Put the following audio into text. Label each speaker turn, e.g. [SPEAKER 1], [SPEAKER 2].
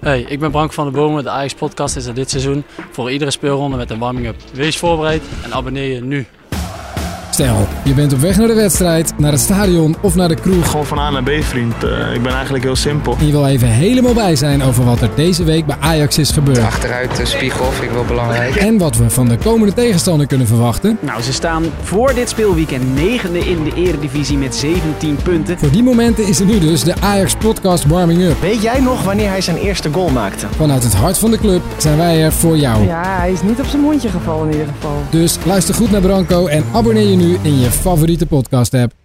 [SPEAKER 1] Hey, ik ben Brank van de Bomen. De Ajax Podcast is er dit seizoen voor iedere speelronde met een warming-up. Wees voorbereid en abonneer je nu.
[SPEAKER 2] Stel, je bent op weg naar de wedstrijd, naar het stadion of naar de kroeg.
[SPEAKER 3] Gewoon van A naar B, vriend. Eh, ik ben eigenlijk heel simpel.
[SPEAKER 2] En je wil even helemaal bij zijn over wat er deze week bij Ajax is gebeurd.
[SPEAKER 4] achteruit eh, spiegel vind ik wel belangrijk.
[SPEAKER 2] En wat we van de komende tegenstander kunnen verwachten.
[SPEAKER 5] Nou, ze staan voor dit speelweekend negende in de eredivisie met 17 punten.
[SPEAKER 2] Voor die momenten is er nu dus de Ajax Podcast Warming Up.
[SPEAKER 6] Weet jij nog wanneer hij zijn eerste goal maakte?
[SPEAKER 2] Vanuit het hart van de club zijn wij er voor jou.
[SPEAKER 7] Ja, hij is niet op zijn mondje gevallen in ieder geval.
[SPEAKER 2] Dus luister goed naar Branco en abonneer je nu in je favoriete podcast app.